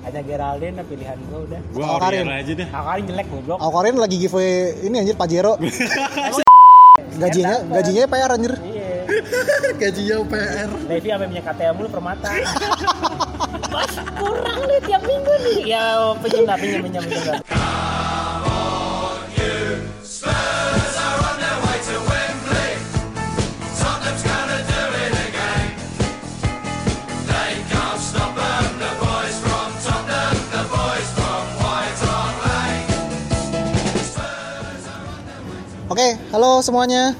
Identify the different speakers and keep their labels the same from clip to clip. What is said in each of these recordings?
Speaker 1: ada Geraldine lah pilihan gue udah
Speaker 2: Gue
Speaker 3: Kalau Karin.
Speaker 2: Orion aja deh.
Speaker 1: Akarin jelek goblok
Speaker 3: Alkorin lagi giveaway ini anjir Pajero. gajinya gajinya PR anjir.
Speaker 1: iya
Speaker 3: Gajinya PR.
Speaker 1: Levi sampai punya KTA mulu permata Mas kurang nih tiap minggu nih ya pinjam lah pinjam pinjam pinjam lah
Speaker 3: Oke, halo semuanya.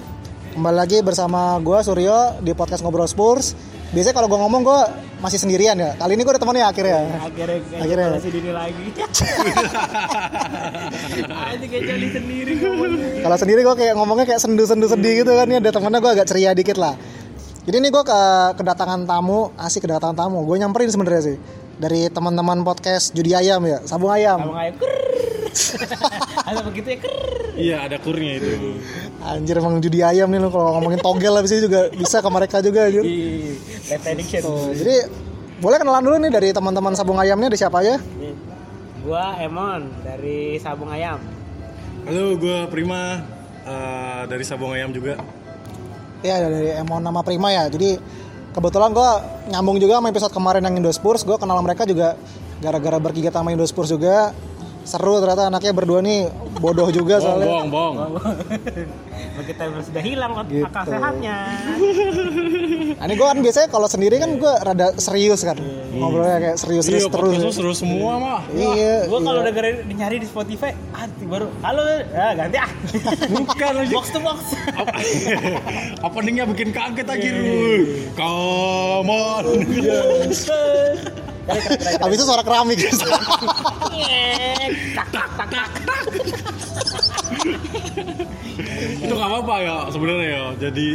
Speaker 3: Kembali lagi bersama gua Suryo di podcast Ngobrol Spurs. Biasanya kalau gua ngomong gua masih sendirian ya. Kali ini gua ada temennya akhirnya.
Speaker 1: akhirnya
Speaker 3: Akhirnya.
Speaker 1: akhirnya masih diri lagi aja kayak jadi sendiri ngomongnya.
Speaker 3: Kalau sendiri gua kayak ngomongnya kayak sendu-sendu sedih gitu kan. Ini ada temennya gua agak ceria dikit lah. Jadi ini gua ke kedatangan tamu, asik kedatangan tamu. Gue nyamperin sebenarnya sih dari teman-teman podcast Judi Ayam ya, Sabung Ayam.
Speaker 1: Abang ayam kerr ada begitu ya kerr
Speaker 2: Iya ada kurnya itu.
Speaker 3: Anjir emang Judi Ayam nih lo kalau ngomongin togel habis itu juga bisa ke mereka juga anjir.
Speaker 1: di left addiction
Speaker 3: Tuh, jadi boleh kenalan dulu nih dari teman-teman sabung ayamnya ada siapa aja?
Speaker 1: Nih, Iya. gua Emon dari Sabung Ayam
Speaker 2: Halo, gue Prima eh, dari Sabong Ayam juga.
Speaker 3: Ya dari Emon nama Prima ya. Jadi kebetulan gue nyambung juga sama episode kemarin yang Indo Spurs. Gue kenal mereka juga gara-gara bergigat sama Indo Spurs juga. Seru ternyata anaknya berdua nih bodoh juga
Speaker 2: Bong,
Speaker 3: Iya, soalnya.
Speaker 2: bong, bong.
Speaker 1: begitu sudah hilang kok
Speaker 3: Gitu.
Speaker 1: akal sehatnya
Speaker 3: Nah, ini gue kan biasanya kalau sendiri kan gue rada serius kan
Speaker 1: Hmm.
Speaker 3: ngobrolnya kayak serius-serius
Speaker 2: Iya,
Speaker 3: terus.
Speaker 2: podcast lu seru semua mah.
Speaker 3: Iya.
Speaker 1: Gue kalau udah dengerin nyari di Spotify, ah baru halo ah ganti ah.
Speaker 2: Bukan lagi.
Speaker 1: box to box.
Speaker 2: Openingnya bikin kaget aja lu. Come on.
Speaker 1: Iya.
Speaker 3: Iya. Abis itu suara keramik.
Speaker 1: Nyek, tak tak tak tak.
Speaker 2: itu gak apa-apa ya sebenarnya ya. Jadi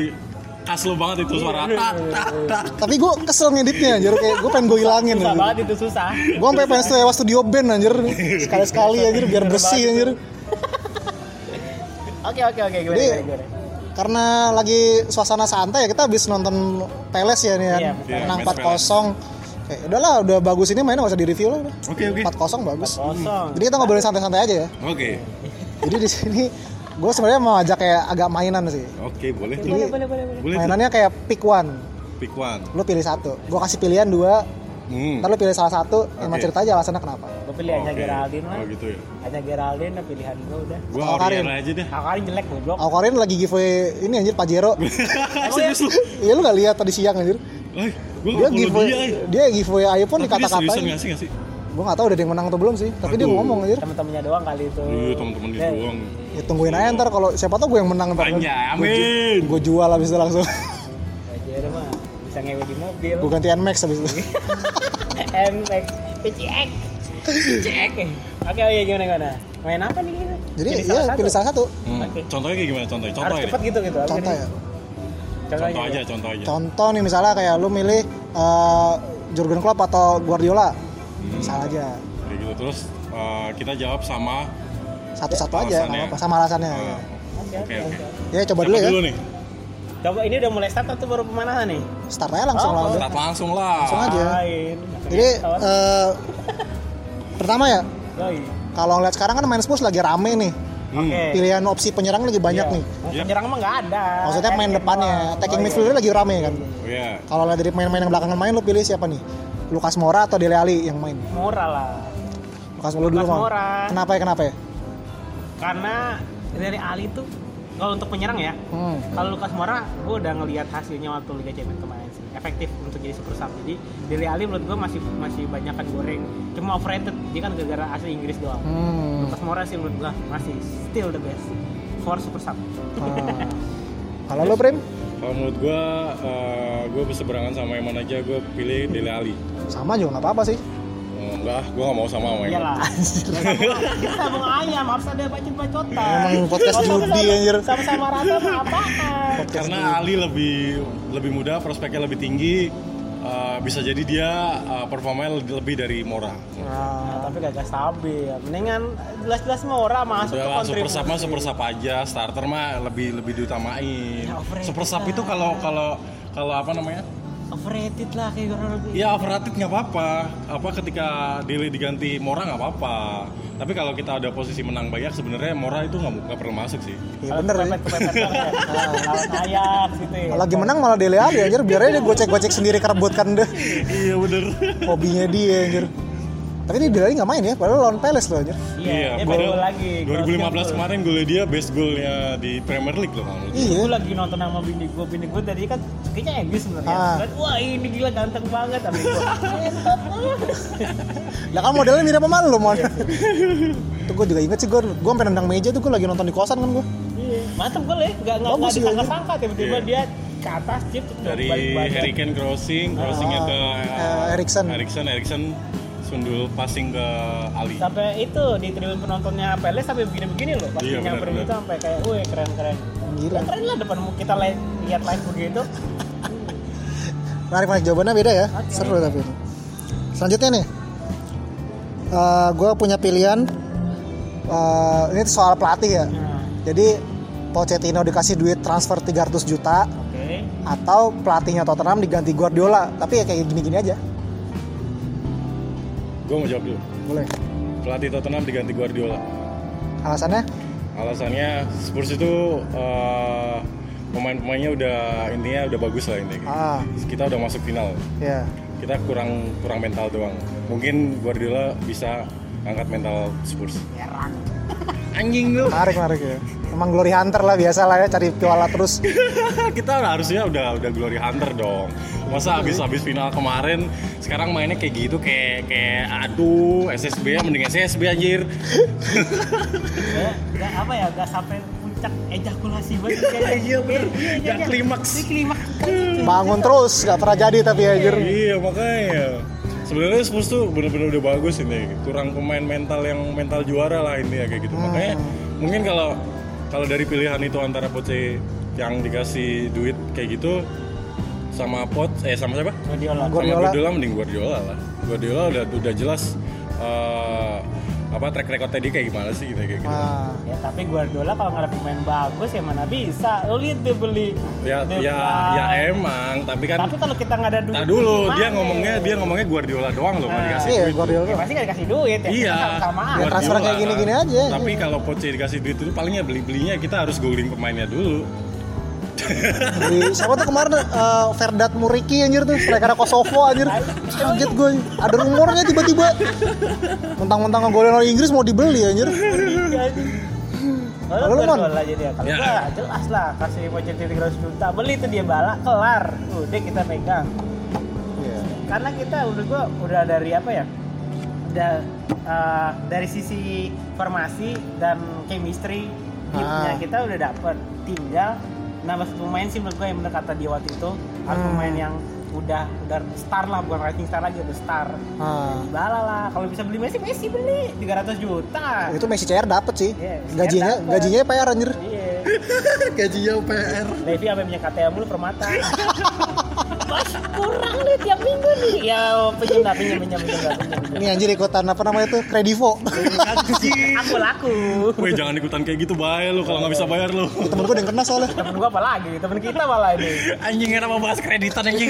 Speaker 2: khas lu banget itu suara tak tak tak.
Speaker 3: Tapi gue kesel ngeditnya, jadi kayak gue pengen gue hilangin.
Speaker 1: Susah banget itu susah.
Speaker 3: Gue sampai pengen sewa studio band anjir Sekali-sekali anjir biar bersih anjir
Speaker 1: Oke oke oke gimana
Speaker 3: Jadi-
Speaker 1: gimana, gimana.
Speaker 3: Karena lagi suasana santai ya kita habis nonton Peles ya nih kan
Speaker 1: Iya,
Speaker 2: Iya,
Speaker 3: Menang
Speaker 2: match
Speaker 3: 4-0 Kayak udahlah udah bagus ini mainnya gak usah di-review lah udah.
Speaker 2: Oke, oke.
Speaker 3: 4-0 bagus
Speaker 1: Kosong.
Speaker 3: Jadi kita ngobrolin santai-santai aja ya
Speaker 2: Oke.
Speaker 3: Jadi di sini gue sebenarnya mau ajak kayak agak mainan sih
Speaker 2: Oke, boleh tuh.
Speaker 1: Boleh boleh boleh boleh.
Speaker 2: Boleh tuh.
Speaker 3: Mainannya kayak pick one
Speaker 2: Pick one.
Speaker 3: Lu pilih satu Gue kasih pilihan dua
Speaker 2: Hmm.
Speaker 3: Ntar lu pilih salah satu Emang
Speaker 2: Oke.
Speaker 3: cerita aja alasannya kenapa
Speaker 1: Gue pilih aja
Speaker 2: Oke.
Speaker 1: Geraldine lah.
Speaker 2: Oh gitu ya.
Speaker 1: Aja Geraldine lah pilihan gue udah.
Speaker 2: Gue
Speaker 3: Kalau Karin.
Speaker 2: Orion aja deh.
Speaker 1: Akarin jelek goblok.
Speaker 3: Alkorin lagi giveaway ini anjir Pajero
Speaker 2: Serius lu.
Speaker 3: Iya lu gak lihat tadi siang anjir
Speaker 2: Eh, gue gak
Speaker 3: dia
Speaker 2: follow
Speaker 3: giveaway
Speaker 2: dia. eh.
Speaker 3: dia giveaway
Speaker 2: Tapi dia
Speaker 3: iPhone
Speaker 2: seriusan
Speaker 3: dikata-katain
Speaker 2: gak sih gak sih?
Speaker 3: gue nggak tahu udah ada yang menang atau belum sih tapi dia
Speaker 2: Aduh.
Speaker 3: ngomong anjir
Speaker 1: Temen-temennya doang kali itu.
Speaker 2: Iya, teman-teman dia
Speaker 1: Ya,
Speaker 2: doang.
Speaker 3: ya tungguin aja ntar kalau siapa tau gue yang menang ntar
Speaker 2: Banyak, amin.
Speaker 3: gue jual abis itu langsung
Speaker 1: Pajero mah bisa ngewe di mobil.
Speaker 3: gue ganti Nmax abis itu
Speaker 1: MX, PCX, PCX. Oke, oke gimana gimana? Main apa nih kita?
Speaker 3: jadi
Speaker 1: Pilih
Speaker 3: ya
Speaker 1: salah satu.
Speaker 3: pilih salah satu
Speaker 2: Hmm.
Speaker 1: Oke.
Speaker 2: Contohnya kayak gimana? Contohnya,
Speaker 1: Harus
Speaker 2: contohnya. deh.
Speaker 1: cepet gitu gitu. Oke,
Speaker 3: contoh
Speaker 1: nih.
Speaker 3: ya
Speaker 2: Contoh aja, contoh aja.
Speaker 3: contoh nih misalnya kayak lu milih eh, Jurgen Klopp atau Guardiola salah aja
Speaker 2: Kayak gitu terus eh, kita jawab sama
Speaker 3: satu-satu aja
Speaker 2: Alasannya.
Speaker 3: nggak apa sama alasannya
Speaker 2: eh,
Speaker 1: Oke,
Speaker 2: Oke,
Speaker 1: oke,
Speaker 2: oke.
Speaker 1: oke.
Speaker 3: ya Nah. coba
Speaker 2: siapa
Speaker 3: dulu ya
Speaker 2: nih.
Speaker 1: Coba ini udah mulai start atau baru pemanasan nih?
Speaker 3: start aja langsung
Speaker 1: Oh,
Speaker 3: lah udah.
Speaker 2: Start langsung lah.
Speaker 3: Langsung aja.
Speaker 1: Main.
Speaker 3: jadi eh, pertama ya
Speaker 1: Yoi.
Speaker 3: kalau ngeliat sekarang kan main Spurs lagi rame nih
Speaker 2: Hmm.
Speaker 1: Oke.
Speaker 3: pilihan opsi penyerang lagi banyak
Speaker 1: Iya.
Speaker 3: nih
Speaker 2: Iya.
Speaker 1: Penyerang mah nggak ada.
Speaker 3: Maksudnya main
Speaker 1: Attacking
Speaker 3: depannya,
Speaker 1: doang.
Speaker 3: attacking
Speaker 1: Oh, iya.
Speaker 3: midfielder lagi rame kan.
Speaker 2: Oh, Iya.
Speaker 3: Kalau lihat dari pemain-pemain yang belakangan main, lu pilih siapa nih? Lukas Moura atau Dele Alli yang main?
Speaker 1: Murah lah.
Speaker 3: Lukas Moura dulu
Speaker 1: Lucas
Speaker 3: mau.
Speaker 1: Moura.
Speaker 3: Kenapa ya kenapa ya?
Speaker 1: Karena dari Ali tuh kalau untuk penyerang ya,
Speaker 3: Hmm.
Speaker 1: kalau Lukas Moura gue udah ngelihat hasilnya waktu Liga Champions kemarin sih efektif untuk jadi super sub jadi Dele Alli menurut gue masih masih banyakan goreng cuma overrated dia kan gara-gara asli Inggris doang
Speaker 3: Hmm.
Speaker 1: Lukas Moura sih menurut gue masih still the best for super sub
Speaker 3: Hmm. Kalau lu Prim?
Speaker 2: Kalau menurut gua eh, gua berseberangan sama Eman aja, gua pilih Dele Alli.
Speaker 3: Sama juga nggak apa-apa sih.
Speaker 2: Oh, enggak, gua gak mau sama sama
Speaker 3: Oh, iya.
Speaker 2: Eman.
Speaker 1: iyalah kita sabung ayam harus ada bacot-bacotan
Speaker 3: Emang podcast
Speaker 1: Kalau
Speaker 3: judi,
Speaker 1: sama-
Speaker 3: anjir.
Speaker 1: sama-sama rata mah apaan
Speaker 2: Karena Ali lebih lebih muda, prospeknya lebih tinggi. eh, bisa jadi dia eh, performanya lebih dari Mora.
Speaker 1: Nah, tapi gak stabil mendingan jelas-jelas Moura masuk ke
Speaker 2: Udah lah, super
Speaker 1: kontribusi
Speaker 2: sub mah super sub aja, starter mah lebih lebih diutamain.
Speaker 1: Ya, overrated
Speaker 2: Super sub itu kalau kalau kalau apa namanya?
Speaker 1: overrated lah kayak orang
Speaker 3: Iya,
Speaker 2: Ya overrated nggak apa-apa. Apa ketika Dele diganti Mora nggak apa-apa. Tapi kalau kita ada posisi menang banyak sebenarnya Mora itu nggak nggak perlu masuk sih.
Speaker 3: Iya bener ya.
Speaker 1: kepepet banget ya. lawan Ajax gitu ya
Speaker 3: Lagi menang malah Dele Ali anjir, biar aja dia gocek-gocek sendiri kerebutkan deh.
Speaker 2: iya bener.
Speaker 3: Hobinya dia anjir. Tapi ini Dele Ali nggak main ya, padahal lawan Palace loh anjir.
Speaker 1: iya dia baru
Speaker 2: padahal
Speaker 1: lagi gol 30.
Speaker 2: 2015 kemarin golnya dia best golnya di Premier League loh. kalau-
Speaker 1: Gue
Speaker 3: Iya.
Speaker 1: lagi nonton sama bini gue, bini gue tadi kan kayaknya Egy sebenarnya.
Speaker 3: Ah.
Speaker 1: Kan, Wah ini gila ganteng banget, tapi "Iya, gue mantap banget.
Speaker 3: Lah kan modelnya mirip sama lu, Mon. Itu gue juga inget sih, gue gue sampai nendang meja tuh gue lagi nonton di kosan kan gue.
Speaker 1: Iya, mantap gue ya, nggak nggak
Speaker 3: Bagus
Speaker 1: nggak
Speaker 3: sih,
Speaker 1: disangka-sangka tiba-tiba
Speaker 2: Iya.
Speaker 1: dia ke atas chip
Speaker 2: Dari Harry Kane crossing,
Speaker 1: Oh,
Speaker 2: crossingnya ke
Speaker 3: eh, Eriksen.
Speaker 2: Eriksen, Eriksen sundul passing ke Ali.
Speaker 1: sampai itu di tribun penontonnya Palace sampai begini-begini loh pas
Speaker 2: Iya,
Speaker 1: nyamperin
Speaker 2: benar-benar.
Speaker 1: itu sampai kayak, wih keren-keren.
Speaker 3: Gila.
Speaker 1: Keren lah depan kita live, lihat live begitu.
Speaker 3: Menarik menarik jawabannya beda ya.
Speaker 1: Oke.
Speaker 3: Seru tapi ini. Selanjutnya nih. Eh gue punya pilihan eh, ini soal pelatih ya.
Speaker 1: Nah,
Speaker 3: Jadi Pochettino dikasih duit transfer 300 juta
Speaker 1: oke.
Speaker 3: atau pelatihnya Tottenham diganti Guardiola, tapi ya kayak gini-gini aja.
Speaker 2: Gue mau jawab dulu.
Speaker 3: Boleh.
Speaker 2: Pelatih Tottenham diganti Guardiola.
Speaker 3: Alasannya?
Speaker 2: Alasannya Spurs itu eh, pemain-pemainnya udah intinya udah bagus lah intinya.
Speaker 3: Ah,
Speaker 2: Kita udah masuk final.
Speaker 3: ya.
Speaker 2: Kita kurang kurang mental doang. Mungkin Guardiola bisa angkat mental Spurs. Anjing lu.
Speaker 3: Menarik, menarik ya. Emang glory hunter lah biasa lah ya cari piala terus.
Speaker 2: kita harusnya udah udah glory hunter dong masa habis habis final kemarin sekarang mainnya kayak gitu kayak kayak aduh SSB ya mending SSB anjir
Speaker 1: Ya, nggak apa ya, nggak sampai puncak ejakulasi banget kayaknya.
Speaker 2: Iya, bener. Nggak klimaks.
Speaker 1: Ini klimaks.
Speaker 3: Bangun terus, gak pernah jadi tapi ya anjir.
Speaker 2: iya makanya sebenarnya Spurs tuh bener-bener udah bagus ini kurang pemain mental yang mental juara lah ini ya kayak gitu makanya mungkin kalau kalau dari pilihan itu antara Poche yang dikasih duit kayak gitu sama Pot eh sama siapa
Speaker 1: Guardiola.
Speaker 3: Guardiola.
Speaker 2: Sama Guardiola mending Guardiola lah. Guardiola udah udah jelas eh, apa track recordnya dia kayak gimana sih gitu kayak gitu.
Speaker 3: Nah,
Speaker 1: Ya tapi Guardiola kalau nggak ada pemain bagus ya mana bisa. Lu lihat dia beli.
Speaker 2: Ya
Speaker 1: dia
Speaker 2: ya
Speaker 1: beli.
Speaker 2: ya emang, tapi kan
Speaker 1: Tapi kalau kita nggak ada duit.
Speaker 2: Nah dulu
Speaker 1: gimana
Speaker 2: dia
Speaker 1: ya?
Speaker 2: ngomongnya dia ngomongnya Guardiola doang loh, nggak
Speaker 1: Nah.
Speaker 2: dikasih
Speaker 3: iya
Speaker 2: duit.
Speaker 1: ya,
Speaker 3: Guardiola.
Speaker 1: pasti nggak dikasih duit ya.
Speaker 2: Iya,
Speaker 1: Kita Sama
Speaker 3: Ya,
Speaker 1: aja.
Speaker 3: transfer
Speaker 2: Guardiola
Speaker 3: kayak gini-gini aja,
Speaker 2: Tapi
Speaker 3: iya.
Speaker 2: kalau Poche dikasih duit itu palingnya beli-belinya kita harus googling pemainnya dulu.
Speaker 3: Di, siapa tuh kemarin eh, Ferdat Muriki anjir tuh striker Kosovo anjir kaget gue ada rumornya tiba-tiba mentang-mentang ngegolin orang Inggris mau dibeli anjir Iya.
Speaker 1: Kalau
Speaker 3: Kalau lu, Mon?
Speaker 1: Guardiola jadi ya. Kalau
Speaker 2: Ya.
Speaker 1: gua jelas lah kasih Pochettino 300 juta beli tuh dia balak kelar. Udah kita pegang.
Speaker 3: Iya.
Speaker 1: karena kita udah gua udah dari apa ya udah uh, dari sisi formasi dan chemistry timnya
Speaker 3: Ah.
Speaker 1: kita udah dapet tinggal nambah satu pemain sih menurut gue yang bener kata dia waktu itu harus
Speaker 3: Hmm.
Speaker 1: pemain yang udah udah star lah bukan rising star lagi udah star
Speaker 3: Ah,
Speaker 1: Dybala lah kalau bisa beli Messi Messi beli 300 juta
Speaker 3: itu Messi CR dapet sih
Speaker 1: Iya, CR
Speaker 3: gajinya
Speaker 1: dapet.
Speaker 3: gajinya PR anjir
Speaker 1: iya
Speaker 3: gajinya PR
Speaker 1: Levi apa yang punya KTA mulu permata Mas, kurang nih tiap minggu nih ya pinjam lah pinjam pinjam pinjam lah, pinjam, pinjam.
Speaker 3: ini anjir ikutan apa namanya tuh kredivo
Speaker 1: aku laku
Speaker 2: Weh jangan ikutan kayak gitu bayar lu kalau nggak bisa bayar lu.
Speaker 3: temen gue ada yang kena soalnya
Speaker 1: temen gua apa lagi temen kita malah ini
Speaker 2: Anjing enak mau bahas kreditan anjing.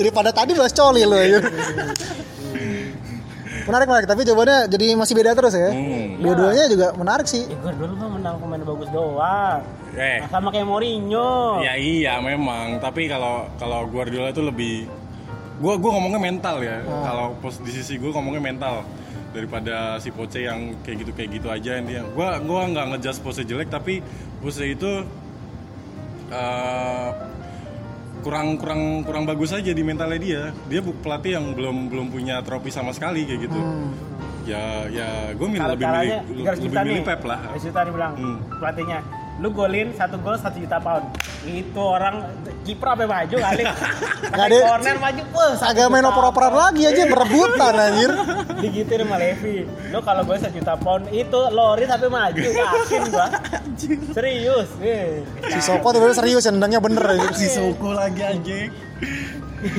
Speaker 3: daripada tadi bahas coli lu anjir menarik menarik tapi jawabannya jadi masih beda terus ya
Speaker 2: Hmm.
Speaker 3: dua-duanya juga menarik sih
Speaker 1: ya gua dulu mah menang pemain bagus doang
Speaker 2: Eh,
Speaker 1: Nah, sama kayak Mourinho
Speaker 2: Ya iya memang, tapi kalau kalau Guardiola itu lebih gua gua ngomongnya mental ya.
Speaker 1: Ah.
Speaker 2: Kalau pos di sisi gua ngomongnya mental daripada si Poce yang kayak gitu kayak gitu aja dia. Gua gua nggak ngejudge Poce jelek tapi Poce itu eh, kurang kurang kurang bagus aja di mentalnya dia. Dia bu- pelatih yang belum belum punya trofi sama sekali kayak gitu. Ya ya gua milih lebih milih
Speaker 1: Hmm. caranya
Speaker 2: lebih milih Pep lah.
Speaker 1: 300 juta nih bilang
Speaker 2: Hmm.
Speaker 1: pelatihnya lu golin satu gol satu juta pound itu orang kiper apa yang maju kali
Speaker 3: Nggak
Speaker 1: pakai
Speaker 3: ada-
Speaker 1: corner maju wah satu
Speaker 3: agak main
Speaker 1: juta.
Speaker 3: oper-operan lagi aja berebutan anjir
Speaker 1: digituin sama Levi lu kalau gue sejuta pound itu lori tapi maju yakin gua serius nih
Speaker 3: si Soko tiba-tiba serius ya, nendangnya bener anjir
Speaker 2: Si Soko lagi anjing.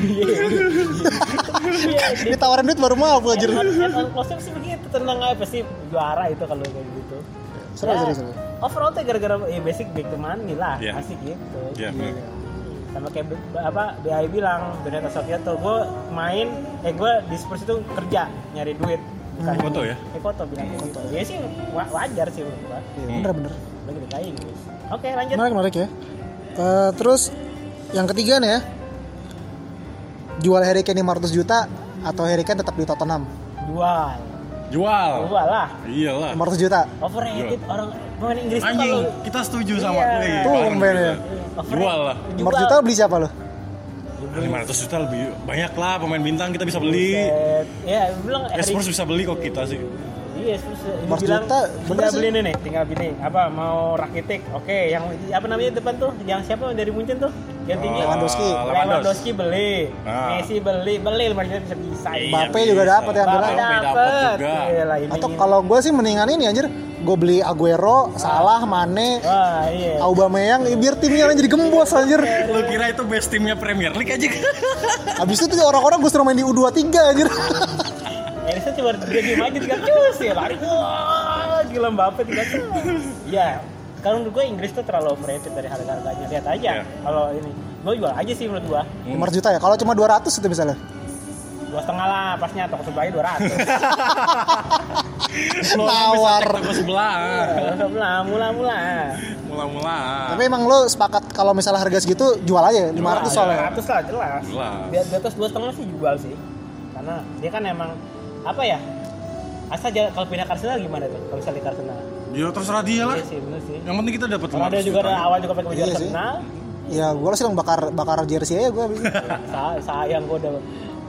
Speaker 1: Iya,
Speaker 3: ditawarin duit baru mau aku anjir
Speaker 1: Kostum sih begitu tenang aja pasti juara itu kalau kayak gitu.
Speaker 3: Seru,
Speaker 1: Ya,
Speaker 3: seru, seru.
Speaker 1: Overall tuh gara-gara ya basic back to money lah,
Speaker 2: Iya.
Speaker 1: asik gitu.
Speaker 2: Iya, bener.
Speaker 1: sama kayak B- apa BI bilang Benito Sofianto gue main eh gue di Spurs itu kerja nyari duit bukan
Speaker 2: Hmm. Koto ya?
Speaker 1: eh koto bilang koto ya sih wa- wajar sih menurut gue
Speaker 3: Iya,
Speaker 2: Hmm.
Speaker 3: bener-bener.
Speaker 1: bagi kita Inggris gitu. oke lanjut
Speaker 3: Menarik, menarik ya. Eh, terus yang ketiga nih ya. Jual Harry Kane 500 juta atau Harry Kane tetap di Tottenham?
Speaker 1: jual
Speaker 2: Jual.
Speaker 1: jual lah
Speaker 2: Iyalah.
Speaker 3: 500 juta.
Speaker 1: overrated orang pemain Inggris tuh
Speaker 2: Anjing,
Speaker 1: kalau
Speaker 2: kita setuju sama
Speaker 1: Iya.
Speaker 2: Nih,
Speaker 3: Tuh,
Speaker 2: bareng
Speaker 3: men,
Speaker 2: kita.
Speaker 3: ya.
Speaker 1: overrated.
Speaker 2: Jual lah.
Speaker 3: 500 juta beli siapa lo?
Speaker 1: Jual.
Speaker 2: 500 gitu. juta lebih banyak lah pemain bintang kita bisa beli.
Speaker 1: Buset. ya bilang
Speaker 2: Eh, Spurs bisa beli kok kita sih.
Speaker 1: Iya, terus ini
Speaker 3: Mas
Speaker 1: bilang
Speaker 3: Duta, bener
Speaker 1: tinggal
Speaker 3: sih.
Speaker 1: beli ini nih, tinggal beli nih. Apa mau rakitik? Oke, yang apa namanya depan tuh? Yang siapa dari Munchen tuh? Yang tinggi.
Speaker 3: Oh, Lewandowski.
Speaker 2: Ah,
Speaker 1: Lewandowski beli,
Speaker 2: Ah.
Speaker 1: Messi beli, beli lumayan bisa bisa.
Speaker 2: Iya,
Speaker 3: Mbappe
Speaker 2: bisa.
Speaker 3: juga dapat ya, Andra.
Speaker 2: Mbappe dapat juga.
Speaker 1: Gila, ini.
Speaker 3: Atau kalau gue sih mendingan ini anjir, gue beli Aguero, Salah, Mane,
Speaker 1: Wah, iya.
Speaker 3: Aubameyang, eh, biar timnya jadi gembos anjir.
Speaker 2: Lu kira itu best timnya Premier League aja? kan?
Speaker 3: Abis itu tuh orang-orang gue suruh main di U23 anjir.
Speaker 1: Erikson cuma dia diem aja tiga cus ya lari. Wah, gila Mbappe tiga cus. Ya, kalau menurut gue Inggris tuh terlalu overrated dari harga-harganya. Lihat aja
Speaker 2: Iya.
Speaker 1: kalau ini. Gue jual aja sih menurut gue.
Speaker 3: 500 juta ya, kalau cuma 200 itu misalnya.
Speaker 1: dua setengah lah pasnya toko sebelahnya dua ratus
Speaker 2: Lu
Speaker 3: Tawar.
Speaker 2: bisa cek toko sebelah.
Speaker 1: mula mula mula
Speaker 2: Mula-mula.
Speaker 3: Tapi emang lo sepakat kalau misalnya harga segitu jual aja 500 soalnya.
Speaker 1: dua ratus lah jelas
Speaker 2: Jelas.
Speaker 1: di, di atas dua setengah sih jual sih karena dia kan emang apa ya asal jalan kalau pindah ke Arsenal gimana tuh kalau misalnya ke Arsenal
Speaker 2: Ya terserah dia lah.
Speaker 1: iya sih bener sih
Speaker 2: Yang penting kita dapat
Speaker 1: karena dia
Speaker 2: 500
Speaker 1: juga
Speaker 2: juta.
Speaker 1: ada awal juga pakai baju
Speaker 3: Iya sih.
Speaker 1: Arsenal
Speaker 3: Ya gue sih dong bakar bakar jersey aja gue abis itu.
Speaker 1: Sa- sayang gue udah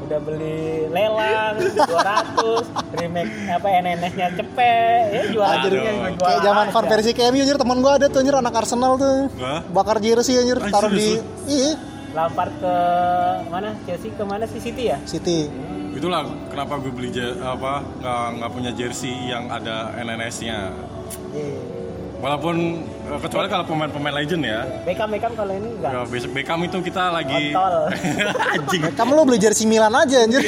Speaker 1: udah beli lelang 200 remake apa NNS nya cepet ya jual aja
Speaker 2: Aduh.
Speaker 1: jual
Speaker 3: Kayak zaman
Speaker 1: aja.
Speaker 3: fan versi KMU anjir temen gue ada tuh anjir anak Arsenal tuh.
Speaker 2: Hah?
Speaker 3: Bakar jersey anjir
Speaker 2: Ah,
Speaker 3: taruh di
Speaker 2: serius
Speaker 3: iya
Speaker 1: Lampard ke mana Chelsea ke mana sih City ya
Speaker 3: City.
Speaker 2: Itulah kenapa gue beli je- apa nggak nggak punya jersey yang ada NNS-nya.
Speaker 1: Iya.
Speaker 2: Walaupun eh, kecuali kalau pemain-pemain legend ya.
Speaker 1: Beckham Beckham kalau ini enggak
Speaker 2: Ya, besok Beckham itu kita lagi
Speaker 1: kontol
Speaker 2: anjing.
Speaker 3: Kamu lo beli jersey Milan aja
Speaker 1: Iya.
Speaker 3: anjir.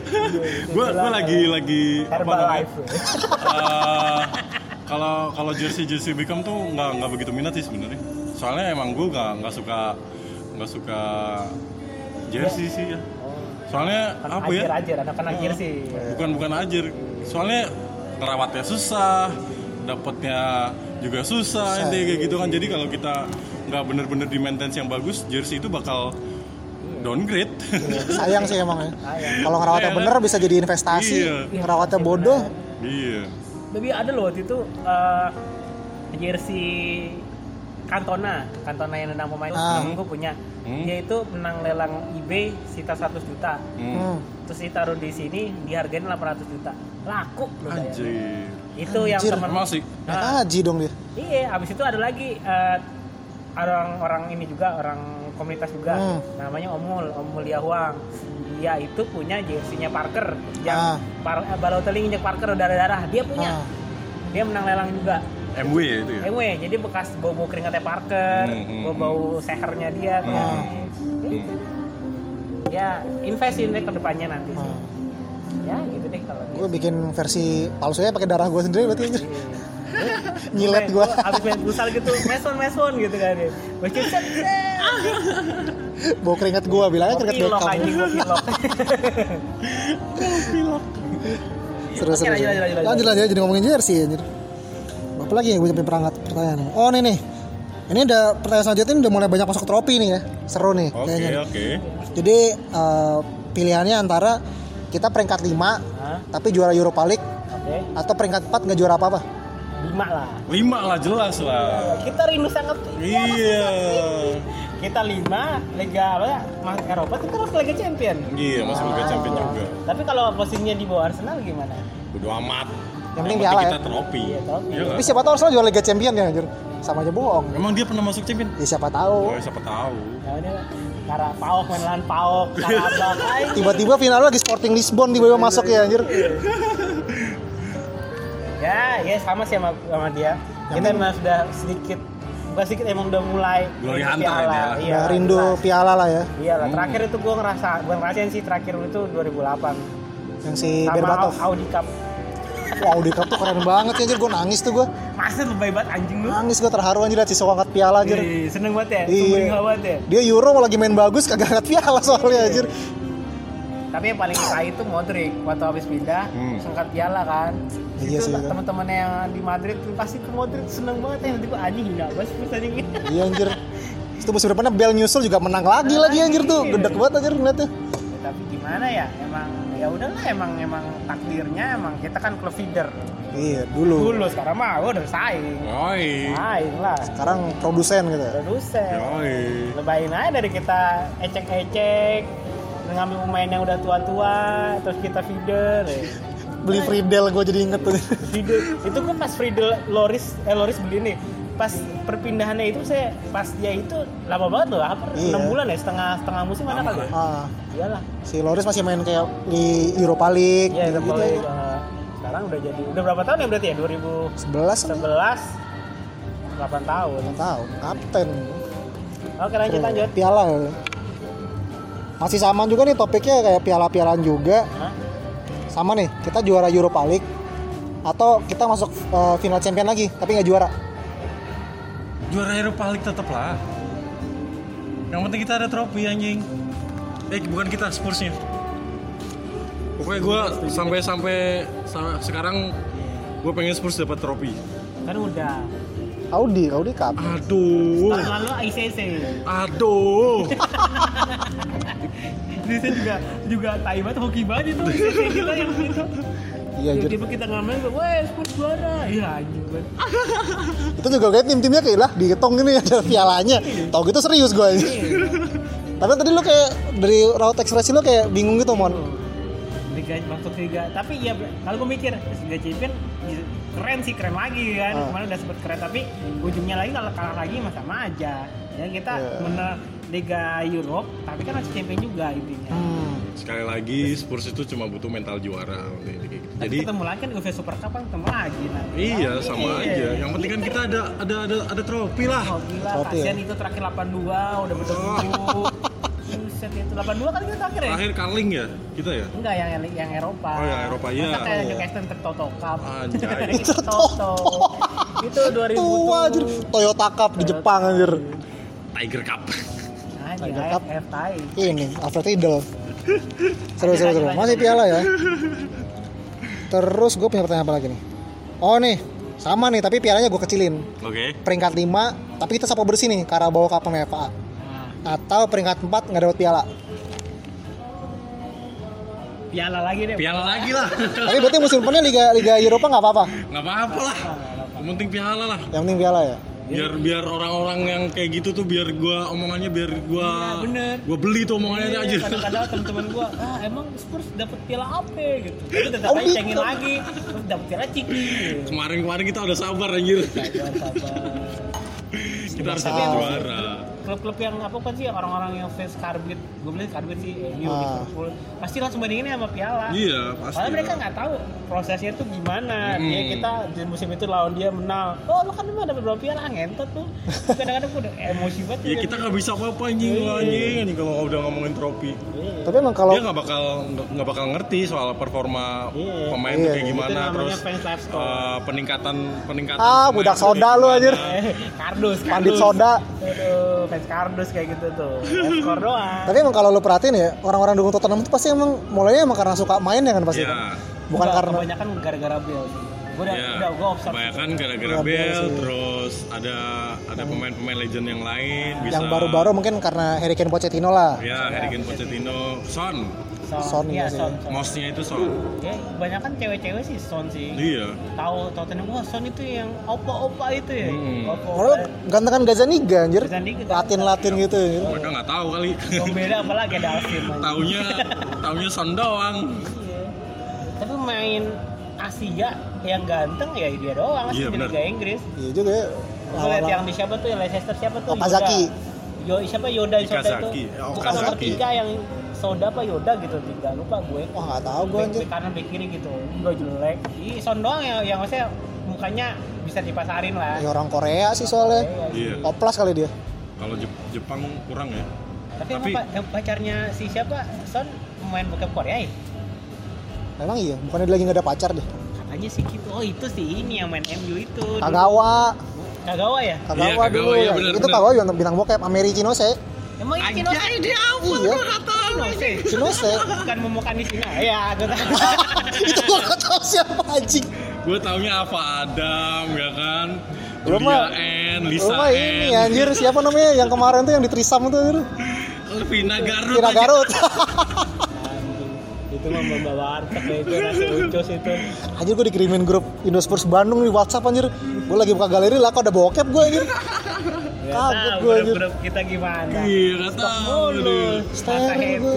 Speaker 2: Gue gue lagi lagi apa namanya?
Speaker 1: Herbalife
Speaker 2: Eh, Kalau kalau jersey jersey Beckham tuh nggak nggak begitu minat sih sebenarnya. Soalnya emang gue nggak nggak suka nggak suka jersey sih ya. Soalnya
Speaker 1: kan
Speaker 2: apa
Speaker 1: akhir
Speaker 2: ya?
Speaker 1: akhir anak kan akhir sih
Speaker 2: bukan bukan ajar soalnya ngerawatnya susah dapatnya juga susah intinya kayak gitu kan jadi kalau kita nggak bener-bener di maintenance yang bagus jersey itu bakal downgrade
Speaker 3: Sayang sih emang ya.
Speaker 1: Sayang.
Speaker 3: Kalau ngerawatnya
Speaker 2: Iya,
Speaker 3: bener bisa jadi investasi.
Speaker 2: Iya.
Speaker 3: Ngerawatnya bodoh.
Speaker 2: iya
Speaker 1: tapi ada loh waktu itu eh, jersey Cantona Cantona yang nendang pemain
Speaker 3: Ah.
Speaker 1: temen gue punya
Speaker 2: Hmm.
Speaker 1: dia itu menang lelang eBay sita 100 juta
Speaker 2: hmm.
Speaker 3: Hmm.
Speaker 1: terus ditaruh di sini dihargain 800 juta laku loh bayar.
Speaker 2: anjir
Speaker 1: itu yang
Speaker 3: Anjir. Ah.
Speaker 1: temen
Speaker 2: emang sih
Speaker 1: Nah,
Speaker 3: Haji dong dia.
Speaker 1: Iya, abis itu ada lagi eh, orang-orang ini juga orang komunitas juga,
Speaker 3: Hmm.
Speaker 1: namanya Omul, Omul Yahuang. Dia itu punya jersey-nya Parker,
Speaker 3: Ah.
Speaker 1: yang par, eh, Balotelli injek Parker darah-darah, dia punya.
Speaker 3: Ah.
Speaker 1: Dia menang lelang juga.
Speaker 2: MW ya itu ya
Speaker 1: Anyway, jadi bekas bau-bau keringatnya Parker,
Speaker 2: Hmm, hmm,
Speaker 1: bau-bau sehernya dia.
Speaker 3: Hmm.
Speaker 1: Jadi, Ya, invest ini ke depannya nanti sih.
Speaker 3: Hmm.
Speaker 1: Ya, gitu deh kalau
Speaker 3: Gue bikin versi palsunya pakai darah gue sendiri berarti
Speaker 1: Iya.
Speaker 3: anjir. Nyilet
Speaker 1: Main-
Speaker 3: gue.
Speaker 1: Iya. Abis main futsal gitu, meson meson gitu kan dia. Gua cicet,
Speaker 3: Bau keringat gue bilangnya
Speaker 1: Gua
Speaker 3: keringat
Speaker 1: pilok
Speaker 3: Beckham.
Speaker 1: anjing, gua pilok.
Speaker 3: Seru
Speaker 1: Oke,
Speaker 3: seru.
Speaker 1: lanjut,
Speaker 3: seru.
Speaker 1: lanjut, lanjut.
Speaker 3: Lanjut lanjut jadi ngomongin jersey anjir. Apa lagi yang gue punya perangkat pertanyaan? Oh ini nih. Ini udah pertanyaan selanjutnya ini udah mulai banyak masuk tropi nih ya. Seru nih
Speaker 2: oke
Speaker 3: kayaknya.
Speaker 2: oke
Speaker 3: Jadi eh, pilihannya antara kita peringkat 5
Speaker 1: Hah?
Speaker 3: tapi juara Europa League
Speaker 1: Oke,
Speaker 3: atau peringkat 4 nggak juara apa-apa.
Speaker 1: lima lah.
Speaker 2: lima lah jelas lah
Speaker 1: Kita rindu sangat.
Speaker 2: iya
Speaker 1: Kita lima Liga apa ya? Mas Eropa kita harus Liga Champion.
Speaker 2: iya masih Liga Champion juga
Speaker 1: Tapi kalau posisinya di bawah Arsenal gimana?
Speaker 2: bodo amat
Speaker 3: Yang penting piala
Speaker 2: kita
Speaker 3: ya.
Speaker 2: trofi
Speaker 1: Iya, trofi.
Speaker 2: Iya nggak?
Speaker 3: Tapi siapa tahu Arsenal juara Liga Champion ya anjir. Sama aja bohong.
Speaker 2: emang dia pernah masuk champion
Speaker 3: Ya siapa tahu.
Speaker 2: oh siapa tahu
Speaker 1: Ya udah, karena Paok main lawan Paok, Karabak. ay.
Speaker 3: Tiba-tiba final lagi Sporting Lisbon tiba-tiba masuk ya anjir.
Speaker 1: Ya, ya sama sih sama, sama dia. Kita memang sudah sedikit bukan sedikit emang udah mulai
Speaker 2: Glory
Speaker 1: rindu
Speaker 2: hunter ya
Speaker 1: piala.
Speaker 2: dia lah.
Speaker 1: Iya,
Speaker 3: Ya, rindu
Speaker 1: jelas.
Speaker 3: piala lah ya.
Speaker 1: Iya lah, terakhir itu gue ngerasa, gue ngerasain sih terakhir itu 2008
Speaker 3: Yang si
Speaker 1: sama
Speaker 3: Berbatov.
Speaker 1: Au- Audi Cup.
Speaker 3: Wah, Udi Cup tuh keren banget sih anjir. Gue nangis tuh gue.
Speaker 1: Masa lebay banget anjing lu.
Speaker 3: Nangis gue terharu anjir liat si Sok angkat piala anjir.
Speaker 1: Ih, seneng banget ya,
Speaker 3: Iya.
Speaker 1: sumringah banget ya.
Speaker 3: Dia Euro lagi main bagus kagak angkat piala soalnya anjir.
Speaker 1: Tapi yang paling tai itu Modric waktu habis pindah,
Speaker 2: Hmm.
Speaker 1: sengkat piala kan.
Speaker 3: Iya
Speaker 1: Itu
Speaker 3: sih, bener.
Speaker 1: teman-temannya yang di Madrid tuh pasti ke Modric seneng banget ya. Nanti gua anjing enggak bos terus anjing.
Speaker 3: Iya anjir. Terus tuh musim depannya Bell Newsel juga menang lagi lagi anjir tuh. Gedek banget anjir ngeliatnya.
Speaker 1: Ya, tapi gimana ya? Emang ya udahlah emang emang takdirnya emang kita kan klub feeder.
Speaker 3: Iya, dulu.
Speaker 1: Dulu sekarang mah gua udah saing.
Speaker 2: Yoi.
Speaker 1: Saing lah.
Speaker 3: Sekarang produsen gitu.
Speaker 1: Produsen.
Speaker 2: Yoi.
Speaker 1: Lebayin aja dari kita ecek-ecek ngambil pemain yang udah tua-tua terus kita feeder ya.
Speaker 3: Beli Friedel gue jadi inget tuh.
Speaker 1: Friedel itu kan pas Friedel Loris eh Loris beli nih pas perpindahannya itu saya pas dia itu lama banget loh apa
Speaker 3: Iya.
Speaker 1: enam bulan ya setengah setengah musim ada kali ya?
Speaker 3: Ah,
Speaker 1: iyalah
Speaker 3: si Loris masih main kayak di Europa League
Speaker 1: iya udah
Speaker 3: gitu
Speaker 1: mulai,
Speaker 3: gitu.
Speaker 1: uh, sekarang udah jadi udah berapa tahun ya berarti ya
Speaker 3: 11 kan?
Speaker 1: 2011 8 tahun
Speaker 3: Nggak tahu, kapten.
Speaker 1: oke lanjut lanjut
Speaker 3: Piala. ya. Masih sama juga nih topiknya kayak piala-pialaan juga.
Speaker 1: Hah?
Speaker 3: Sama nih, kita juara Europa League atau kita masuk eh, final champion lagi tapi nggak juara.
Speaker 2: Juara Eropa League tetep lah. Yang penting kita ada trofi anjing. Eh bukan kita Spursnya. Pokoknya gue sampai sampai sa- sekarang gue pengen Spurs dapat trofi.
Speaker 1: kan udah
Speaker 3: Audi, Audi Cup.
Speaker 2: Aduh,
Speaker 1: tahun lalu ICC
Speaker 2: aduh.
Speaker 1: ICC juga juga tai banget hoki banget itu ICC kita yang itu
Speaker 3: Iya, anjir.
Speaker 1: tiba-tiba kita ngamen weh Spurs juara iya anjing banget
Speaker 3: Itu juga kayak tim-timnya kayak lah dihitung ini ada pialanya. Tahu gitu serius gue. tapi tadi lu kayak dari raut ekspresi lu kayak bingung gitu, Mon.
Speaker 1: Liga masuk Liga. Tapi ya kalau gue mikir Liga Champion ya, keren sih keren lagi kan.
Speaker 3: Ah.
Speaker 1: Kemarin udah sempet keren tapi ujungnya lagi kalau kalah lagi mah sama aja. Ya kita
Speaker 3: Iya.
Speaker 1: menang Liga Europe tapi kan masih champion juga intinya.
Speaker 3: Hmm.
Speaker 2: Sekali lagi Spurs itu cuma butuh mental juara.
Speaker 1: Tapi
Speaker 2: Jadi
Speaker 1: ketemu lagi kan UEFA Super Cup kan ketemu lagi nanti.
Speaker 2: Iya,
Speaker 1: Iya.
Speaker 2: sama aja. Yang penting kan kita ada ada ada ada trofi
Speaker 1: Oh
Speaker 2: lah.
Speaker 1: gila,
Speaker 3: Trofi ya?
Speaker 1: kasihan itu terakhir 82 udah berdebu. Buset itu 82 kan kita terakhir ya?
Speaker 2: Terakhir Carling ya kita ya.
Speaker 1: Enggak yang yang Eropa.
Speaker 2: Oh, yang Eropa, iya.
Speaker 1: Masa kayak
Speaker 3: Oh, iya.
Speaker 1: Newcastle tertoto cup.
Speaker 2: Anjay.
Speaker 1: Tertoto. Itu 2000
Speaker 3: Tua anjir, Toyota Cup di Jepang anjir.
Speaker 2: Tiger Cup.
Speaker 1: Anjay,
Speaker 3: Tiger Cup.
Speaker 1: Nah, ya, F tai.
Speaker 3: Ini, Alfred Riedel. Seru, seru, seru. Masih piala ya. Terus gue punya pertanyaan apa lagi nih? Oh nih, sama nih, tapi pialanya gue kecilin.
Speaker 2: Oke.
Speaker 3: Peringkat 5, tapi kita sapu bersih nih, Karabau Cup sama
Speaker 1: Nah,
Speaker 3: FA. Atau peringkat 4 nggak dapat piala.
Speaker 1: piala lagi deh.
Speaker 2: Piala lagi lah.
Speaker 3: Tapi berarti musim depannya Liga Liga Eropa nggak apa-apa.
Speaker 2: Nggak apa-apa lah. Yang penting piala lah.
Speaker 3: Yang penting piala ya.
Speaker 2: Biar biar orang-orang yang kayak gitu tuh biar gua omongannya biar gua
Speaker 1: Iya, bener.
Speaker 2: gua beli tuh omongannya aja.
Speaker 1: Iya, kadang-kadang teman-teman gua ah emang Spurs dapat piala apa gitu tapi tetap
Speaker 3: Oh,
Speaker 1: aja
Speaker 3: gitu.
Speaker 1: cengin lagi terus dapat piala ciki gitu.
Speaker 2: Kemarin-kemarin kita udah sabar anjir.
Speaker 1: Sabar, sabar.
Speaker 2: Kita harus
Speaker 3: Sabar.
Speaker 2: dapat juara.
Speaker 1: klub-klub yang apa kan sih orang-orang yang fans karbit gue bilang karbit sih MU
Speaker 3: Ah.
Speaker 1: Liverpool pasti langsung bandinginnya sama piala
Speaker 2: Iya, pasti.
Speaker 1: Padahal mereka nggak tahu prosesnya tuh gimana.
Speaker 2: Hmm.
Speaker 1: Dia kita di musim itu lawan dia menang. Oh lu kan emang dapat berapa piala ngentot tuh. Kadang-kadang gue udah emosi banget. gitu.
Speaker 2: Ya kita nggak bisa apa-apa anjing
Speaker 1: Iya.
Speaker 2: anjing anjing kalau udah ngomongin trofi.
Speaker 3: Tapi emang kalau
Speaker 2: dia nggak bakal nggak bakal ngerti soal performa
Speaker 1: Iya.
Speaker 2: pemain
Speaker 3: Iya.
Speaker 2: tuh kayak gimana
Speaker 1: Itu namanya
Speaker 2: terus
Speaker 1: fans lifestyle.
Speaker 2: eh, peningkatan peningkatan
Speaker 3: Ah,
Speaker 2: pemain
Speaker 3: budak
Speaker 2: tuh kayak
Speaker 3: soda lu,
Speaker 2: gimana. Iya.
Speaker 3: anjir.
Speaker 1: Eh, kardus, kardus.
Speaker 3: pandit soda.
Speaker 1: Aduh, fans kardus kayak gitu tuh. Fans skor doang.
Speaker 3: Tapi emang kalau lu perhatiin ya, orang-orang dukung Tottenham itu pasti emang mulainya emang karena suka main ya kan pasti.
Speaker 2: Iya.
Speaker 3: kan? Bukan
Speaker 1: Enggak,
Speaker 3: karena
Speaker 1: kebanyakan gara-gara Bel. Gue udah,
Speaker 2: Ya,
Speaker 1: udah gue observe.
Speaker 2: kebanyakan gara-gara
Speaker 3: Gara-gara
Speaker 2: Bell,
Speaker 3: sih. Hmm.
Speaker 2: terus ada ada pemain-pemain legend yang lain bisa
Speaker 3: yang baru-baru mungkin karena Harry Kane Pochettino lah.
Speaker 2: ya Harry Kane Pochettino, Son,
Speaker 1: Son,
Speaker 3: Son gitu
Speaker 1: iya,
Speaker 3: ya. juga sih.
Speaker 1: Son, Son.
Speaker 2: mostnya itu Son.
Speaker 1: Ya, kebanyakan cewek-cewek sih Son sih.
Speaker 2: Iya.
Speaker 1: Tahu Tottenham wah Son itu yang opa-opa itu ya.
Speaker 2: Hmm.
Speaker 3: Kalau
Speaker 1: Opa-opa.
Speaker 3: gantengan Gazaniga anjir.
Speaker 1: Gazaniga, Gazaniga.
Speaker 3: Latin-latin gitu. anjir.
Speaker 2: Mereka nggak tahu kali.
Speaker 1: Yang beda apalagi ada Alvin.
Speaker 2: taunya taunya Son doang.
Speaker 1: Tapi main Asia yang ganteng ya dia doang sih
Speaker 2: Iya,
Speaker 1: di
Speaker 2: benar.
Speaker 1: Liga Inggris.
Speaker 3: Iya juga ya.
Speaker 1: Gue liat yang di siapa tuh, yang Leicester siapa tuh?
Speaker 3: Okazaki.
Speaker 1: Yoda. Yo, siapa Yoda yang Soda
Speaker 2: Ikazaki.
Speaker 1: itu?
Speaker 2: Ya,
Speaker 1: Bukan nomor
Speaker 2: Okazaki.
Speaker 1: tiga yang Soda apa Yoda gitu tiga lupa gue.
Speaker 3: Wah nggak tahu Oh, gue
Speaker 1: Back,
Speaker 3: anjir.
Speaker 1: back kanan back kiri gitu, gue jelek. Ih, Son doang yang yang maksudnya mukanya bisa dipasarin lah.
Speaker 3: Ya orang Korea sih soalnya.
Speaker 2: Iya.
Speaker 3: Oplas kali dia.
Speaker 2: Kalau Jep- Jepang kurang ya.
Speaker 1: Tapi, emang
Speaker 2: Tapi-
Speaker 1: pa- eh, pacarnya si siapa? Son main bokep Korea ya?
Speaker 3: Memang iya, bukannya dia lagi nggak ada pacar deh.
Speaker 1: Katanya Kayaknya sih gitu. Oh, itu sih ini yang main MU itu.
Speaker 3: Kagawa,
Speaker 1: Kagawa ya?
Speaker 2: Iya,
Speaker 3: Kagawa
Speaker 2: Kagawa,
Speaker 3: dulu
Speaker 2: iya,
Speaker 3: ya.
Speaker 2: benar,
Speaker 3: Itu
Speaker 2: benar.
Speaker 3: Kagawa juga bintang bokep Ameri Chinose.
Speaker 1: Emang ini Kinose?
Speaker 2: Anjay, dia apa?
Speaker 3: Iya.
Speaker 2: Gua nggak tahu.
Speaker 1: Kinose.
Speaker 3: Kinose.
Speaker 1: Bukan memukan di sini. Ya, gue tahu.
Speaker 3: itu gua gak tahu siapa anjing.
Speaker 2: Gue taunya apa Adam, ya kan?
Speaker 3: Lu
Speaker 2: Julia
Speaker 3: mah-
Speaker 2: N,
Speaker 3: Lu
Speaker 2: Lisa
Speaker 3: mah ini
Speaker 2: N,
Speaker 3: anjir siapa namanya yang kemarin tuh yang di Trisam tuh anjir.
Speaker 2: Vina Garut.
Speaker 3: Kira
Speaker 2: anjing.
Speaker 3: Garut.
Speaker 1: Anjing. Itu mah membawa warteg ya, itu nasi ucos itu.
Speaker 3: anjir gua dikirimin grup Indospurs Bandung di WhatsApp anjir. Gua lagi buka galeri lah kok ada bokep gua anjir.
Speaker 1: Gak
Speaker 3: Kaget
Speaker 1: tahu
Speaker 3: gua anjir.
Speaker 1: grup-grup kita gimana.
Speaker 2: Iya, nggak tahu.
Speaker 1: Mulu.
Speaker 3: Steril
Speaker 1: Masa happy.
Speaker 3: gua.